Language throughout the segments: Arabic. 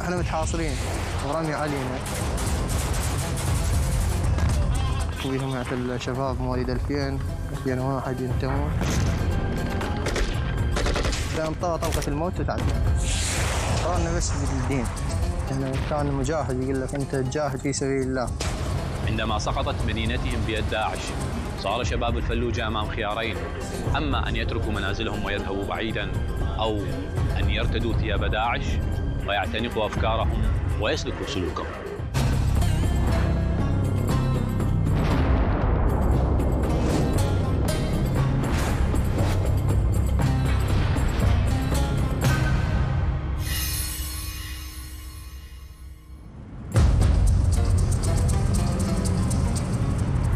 احنا متحاصرين ورمي علينا ويها مع الشباب مواليد 2000 2001 ينتمون انطوى طلقة الموت وتعدى صارنا بس بالدين يعني كان مجاهد يقول لك انت تجاهد في سبيل الله عندما سقطت مدينتهم بيد داعش صار شباب الفلوجة أمام خيارين أما أن يتركوا منازلهم ويذهبوا بعيدا أو أن يرتدوا ثياب داعش ويعتنقوا أفكارهم ويسلكوا سلوكهم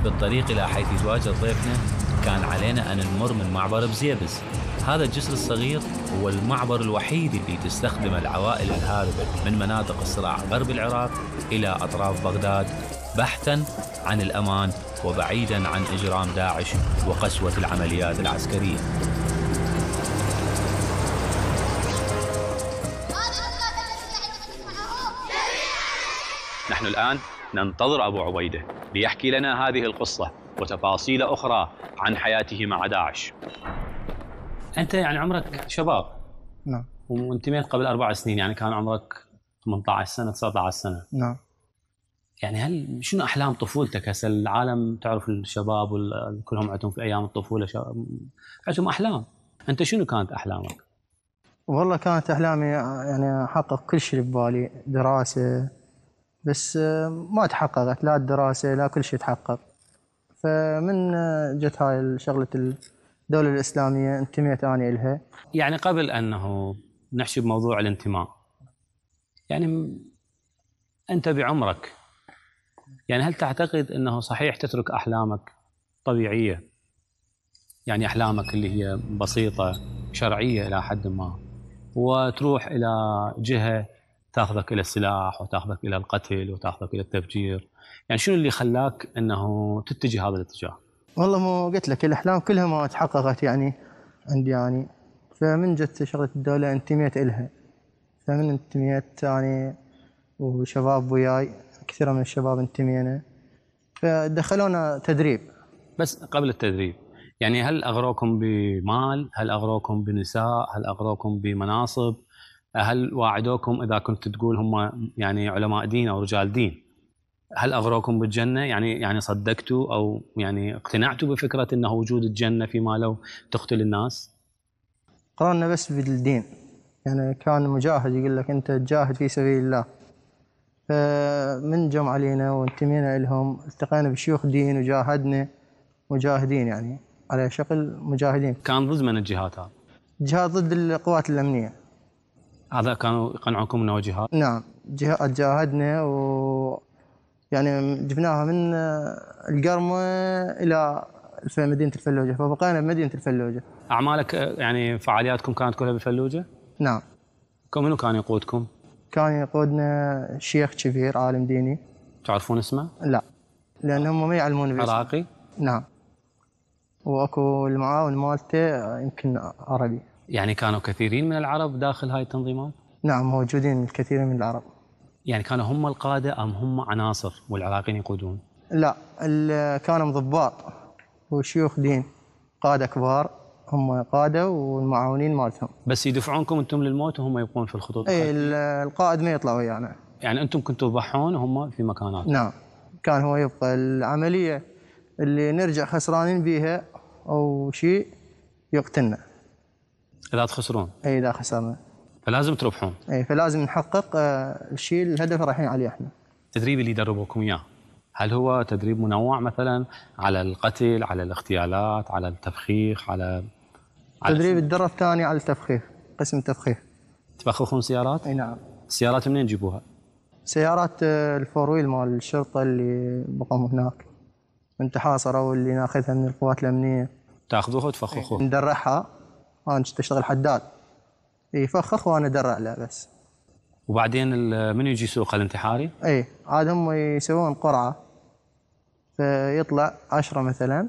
بالطريق إلى حيث يتواجد ضيفنا كان علينا أن نمر من معبر بزيبز هذا الجسر الصغير هو المعبر الوحيد اللي تستخدمه العوائل الهاربة من مناطق الصراع غرب العراق إلى أطراف بغداد بحثا عن الأمان وبعيدا عن إجرام داعش وقسوة العمليات العسكرية نحن الآن ننتظر أبو عبيدة ليحكي لنا هذه القصة وتفاصيل أخرى عن حياته مع داعش أنت يعني عمرك شباب نعم وانتميت قبل أربع سنين يعني كان عمرك 18 سنة 19 سنة نعم يعني هل شنو أحلام طفولتك هسه العالم تعرف الشباب وال- كلهم عندهم في أيام الطفولة شا- عندهم أحلام أنت شنو كانت أحلامك؟ والله كانت أحلامي يعني أحقق كل شيء اللي ببالي دراسة بس آه، ما تحققت لا الدراسة لا كل شيء تحقق فمن آه، جت هاي الشغلة الدولة الإسلامية انتميت أنا إلها يعني قبل انه نحشي بموضوع الانتماء يعني م- انت بعمرك يعني هل تعتقد انه صحيح تترك احلامك طبيعيه يعني احلامك اللي هي بسيطه شرعيه الى حد ما وتروح الى جهه تاخذك الى السلاح وتاخذك الى القتل وتاخذك الى التفجير يعني شنو اللي خلاك انه تتجه هذا الاتجاه والله مو قلت لك الأحلام كلها ما تحققت يعني عندي يعني فمن جت شغلة الدولة انتميت إلها فمن انتميت يعني وشباب وياي كثير من الشباب انتمينا فدخلونا تدريب بس قبل التدريب يعني هل اغروكم بمال؟ هل اغروكم بنساء؟ هل اغروكم بمناصب؟ هل واعدوكم اذا كنت تقول هم يعني علماء دين او رجال دين؟ هل اغروكم بالجنه؟ يعني يعني صدقتوا او يعني اقتنعتوا بفكره انه وجود الجنه فيما لو تقتل الناس؟ قررنا بس بالدين يعني كان مجاهد يقول لك انت تجاهد في سبيل الله فمن جم علينا وانتمينا لهم التقينا بشيوخ دين وجاهدنا مجاهدين يعني على شكل مجاهدين كان ضد من الجهات هذا؟ جهاد ضد القوات الأمنية هذا كانوا يقنعوكم انه جهاد؟ نعم جه- جاهدنا و يعني جبناها من القرمة إلى الف- مدينة الفلوجة فبقينا بمدينة الفلوجة اعمالك آه، يعني فعالياتكم كانت كلها بالفلوجه؟ نعم كم- منو كان يقودكم؟ كان يقودنا شيخ كبير عالم ديني تعرفون اسمه؟ لا لأن هم ما يعلمون باسمه. عراقي؟ نعم واكو المعاون مالته يمكن عربي يعني كانوا كثيرين من العرب داخل هاي التنظيمات نعم موجودين الكثير من العرب يعني كانوا هم القادة أم هم عناصر والعراقيين يقودون لا ال- كانوا ضباط وشيوخ دين قادة كبار هم قادة والمعاونين مالتهم بس يدفعونكم أنتم للموت وهم يبقون في الخطوط اي الخلفية. ال- القائد ما يطلع ويانا يعني أنتم كنتوا تضحون وهم في مكانات نعم كان هو يبقى العملية اللي نرجع خسرانين بيها او شيء يقتلنا إذا تخسرون اي اذا خسرنا فلازم تربحون اي فلازم نحقق آه، الشيء الهدف اللي رايحين عليه احنا التدريب اللي يدربوكم إياه هل هو تدريب منوع مثلا على القتل على الاغتيالات على التفخيخ على على تدريب الدرة الثانية على التفخيخ قسم تفخيخ تفخخون سيارات اي نعم السيارات منين تجيبوها سيارات آه، الفور ويل مال الشرطة اللي بقوا هناك من تحاصروا اللي ناخذها من القوات الأمنية تاخذوها إيه. وتفخخوها ندرعها أنا كنت أشتغل حداد يفخخ وأنا أدرع له بس وبعدين ال- من يجي يسوقها الانتحاري أي عاد هم يسوون قرعة فيطلع عشرة مثلا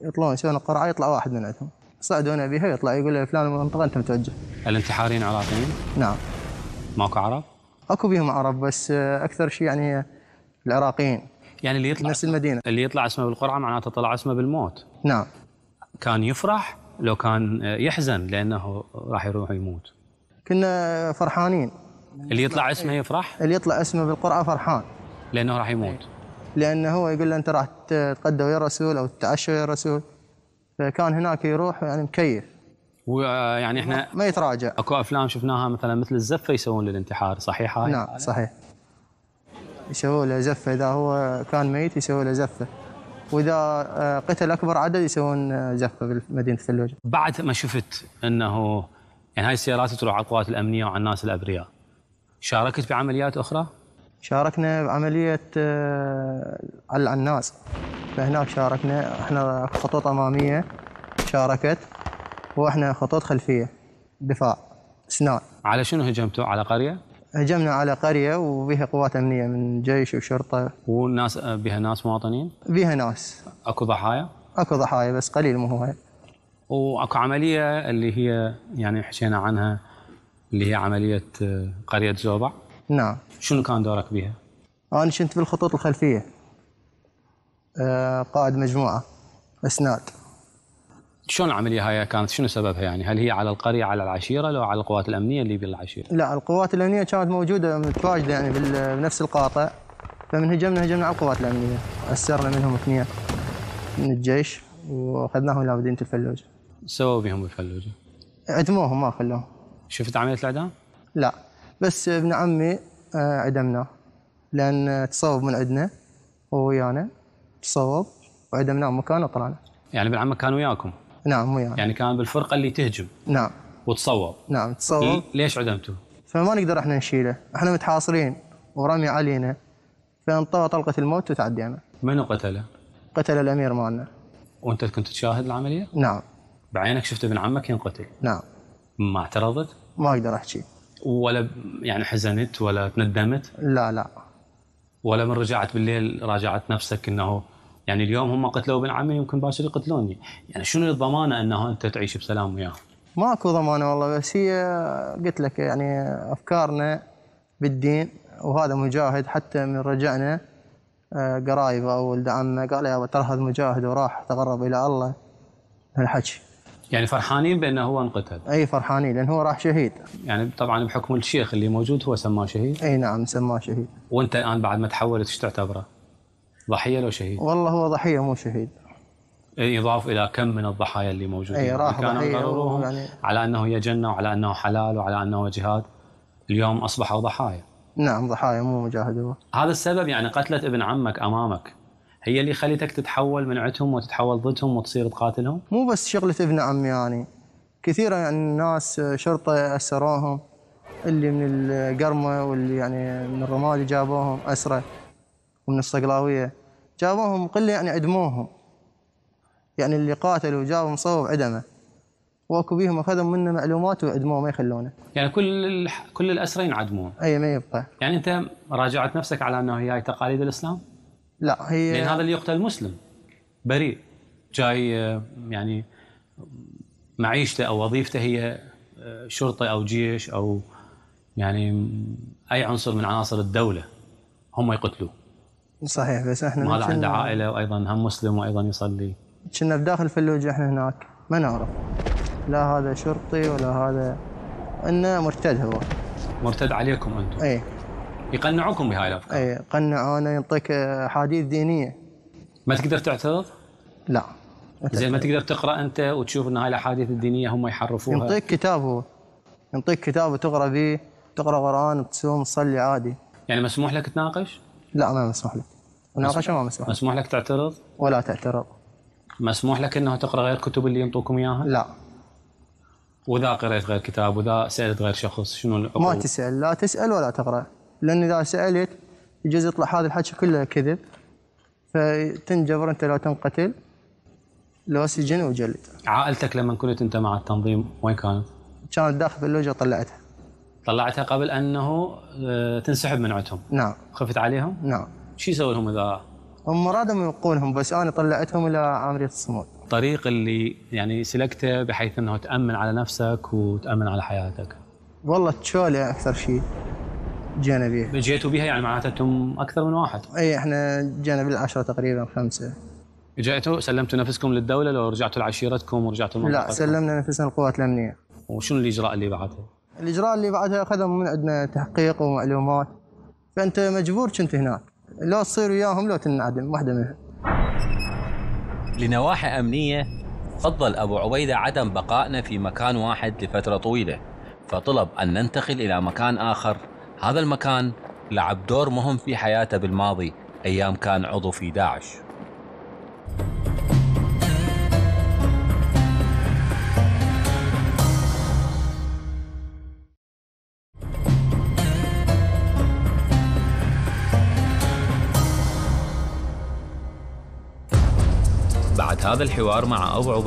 يطلعون يسوون قرعة يطلع واحد من عندهم صعدونا بها يطلع يقول له فلان المنطقة أنت متوجه الانتحاريين عراقيين نعم ماكو عرب اكو بيهم عرب بس آه، اكثر شيء يعني العراقيين يعني اللي يطلع نفس المدينه اللي يطلع اسمه بالقرعه معناته طلع اسمه بالموت نعم كان يفرح لو كان يحزن لانه راح يروح يموت كنا فرحانين اللي يطلع اسمه يفرح اللي يطلع اسمه بالقرعه فرحان لانه راح يموت لان هو يقول له انت راح تتغدى ويا الرسول او تتعشى ويا الرسول فكان هناك يروح يعني مكيف ويعني احنا ما يتراجع اكو افلام شفناها مثلا مثل الزفه يسوون للانتحار صحيح هاي؟ نعم صحيح يسووا له زفه اذا هو كان ميت يسووا له زفه واذا آه، قتل اكبر عدد يسوون آه، زفه بمدينه اللوجه بعد ما شفت انه يعني هاي السيارات تروح على القوات الامنيه وعلى الناس الابرياء شاركت بعمليات اخرى؟ شاركنا بعمليه آه، على العناز فهناك شاركنا احنا خطوط اماميه شاركت واحنا خطوط خلفيه دفاع سنان على شنو هجمتوا؟ على قريه؟ هجمنا على قريه وبها قوات امنيه من جيش وشرطه والناس بها ناس مواطنين؟ بها ناس اكو ضحايا؟ اكو ضحايا بس قليل مو هواي واكو عمليه اللي هي يعني حكينا عنها اللي هي عمليه آه، قريه زوبع نعم شنو كان دورك بها؟ انا كنت بالخطوط الخلفيه آه، قائد مجموعه اسناد شلون العمليه هاي كانت شنو سببها يعني هل هي على القريه على العشيره لو على القوات الامنيه اللي بالعشيره لا القوات الامنيه كانت موجوده متواجده يعني بال- بنفس القاطع فمن هجمنا هجمنا على القوات الامنيه اسرنا منهم اثنين من الجيش واخذناهم الى مدينه الفلوج سووا بهم الفلوجه عدموهم ما خلوهم شفت عمليه الاعدام لا بس ابن عمي آه، عدمناه لان تصوب من عندنا هو ويانا تصوب وعدمناه مكانه وطلعنا يعني بالعمل كانوا وياكم نعم ويانا يعني كان بالفرقه اللي تهجم نعم وتصوب إيه؟ نعم تصوب ليش عدمتوا فما نقدر احنا نشيله احنا متحاصرين ورمي علينا فانطوى طلقة الموت وتعدينا منو قتله قتل الأمير مالنا وانت كنت تشاهد العمليه نعم بعينك شفت ابن عمك ينقتل نعم ما اعترضت ما أقدر أحكي ولا ب- يعني حزنت ولا تندمت لا لا ولا من رجعت بالليل راجعت نفسك انه يعني اليوم هم قتلوا ابن عمي يمكن باشر يقتلوني يعني شنو الضمانه انه انت تعيش بسلام وياهم ماكو ضمانة والله بس هي قلت لك يعني أفكارنا بالدين وهذا مجاهد حتى من رجعنا آه، قرايبه أو ولد عمه قال يا أبا ترى هذا مجاهد وراح تقرب إلى الله هالحكي يعني فرحانين بانه هو انقتل أي فرحانين لأن هو راح شهيد يعني طبعا بحكم الشيخ اللي موجود هو سماه شهيد أي نعم سماه شهيد وانت الان بعد ما تحولت ايش تعتبره؟ ضحيه لو شهيد؟ إيه، والله هو ضحية مو شهيد يضاف الى كم من الضحايا اللي موجودين أي، راح كانوا ضحية يقرروهم ويعني- على انه هي جنه وعلى انه حلال وعلى انه جهاد اليوم اصبحوا ضحايا نعم ضحايا مو مجاهد هو هذا السبب يعني قتلة ابن عمك امامك هي اللي خلتك تتحول من عندهم وتتحول ضدهم وتصير تقاتلهم مو بس شغلة ابن عمي يعني كثيرة يعني الناس شرطة أسروهم اللي من القرمة واللي يعني من الرمادي جابوهم أسرة ومن الصقلاوية جابوهم قلة يعني عدموهم يعني اللي قاتلوا جابوا مصوب عدمه واكو بيهم اخذوا منه معلومات وعدموه ما يخلونه يعني كل الح- كل الاسرى ينعدمون اي ما يبقى يعني انت راجعت نفسك على انه هي هاي تقاليد الاسلام لا هي لان هذا اللي يقتل مسلم بريء جاي آه، يعني معيشته او وظيفته هي آه، شرطه او جيش او يعني اي عنصر من عناصر الدوله هم يقتلوه صحيح بس احنا ما هذا عنده كنا- عائله وايضا هم مسلم وايضا يصلي كنا بداخل فلوج احنا هناك ما نعرف لا هذا شرطي ولا هذا انه مرتد هو مرتد عليكم انتم اي يقنعوكم بهاي الافكار اي قنعونا ينطيك آه، احاديث دينيه ما تقدر تعترض لا زين ما تقدر تقرا انت وتشوف ان هاي الاحاديث الدينيه هم يحرفوها ينطيك كتاب هو ينطيك كتاب وتقرا فيه تقرا قران وتصوم تصلي عادي يعني مسموح لك تناقش لا ما مسموح لك مناقشه ما مسموح لك مسموح لك تعترض ولا تعترض مسموح لك انه تقرا غير كتب اللي ينطوكم اياها لا واذا قريت غير كتاب واذا سالت غير شخص شنو ما العقوبه؟ تسال لا تسال ولا تقرا لان اذا سالت يجوز يطلع هذا الحكي كله كذب فتنجبر انت لو تنقتل لو سجن وجلد عائلتك لما كنت انت مع التنظيم وين كانت؟ كانت داخل في اللوجه طلعتها طلعتها قبل انه آه، تنسحب من عندهم نعم خفت عليهم؟ نعم شو يسوي لهم اذا هم رادوا يوقونهم بس انا طلعتهم الى عمليه الصمود الطريق اللي يعني سلكته بحيث انه تامن على نفسك وتامن على حياتك؟ والله تشولة اكثر شيء جينا بيها جيتوا بها يعني معناته انتم اكثر من واحد اي احنا جينا بالعشرة تقريبا خمسة جيتوا سلمتوا نفسكم للدوله لو رجعتوا لعشيرتكم ورجعتوا لا لمنطقتكم؟ سلمنا نفسنا القوات الامنية وشنو الاجراء اللي بعده؟ الاجراء اللي بعدها اخذوا من عندنا تحقيق ومعلومات فانت مجبور كنت هناك لو تصير وياهم لو تنعدم واحدة منهم لنواحي أمنية فضل أبو عبيدة عدم بقائنا في مكان واحد لفترة طويلة فطلب أن ننتقل إلى مكان آخر هذا المكان لعب دور مهم في حياته بالماضي أيام كان عضو في داعش بعد هذا الحوار مع أبو عبيدة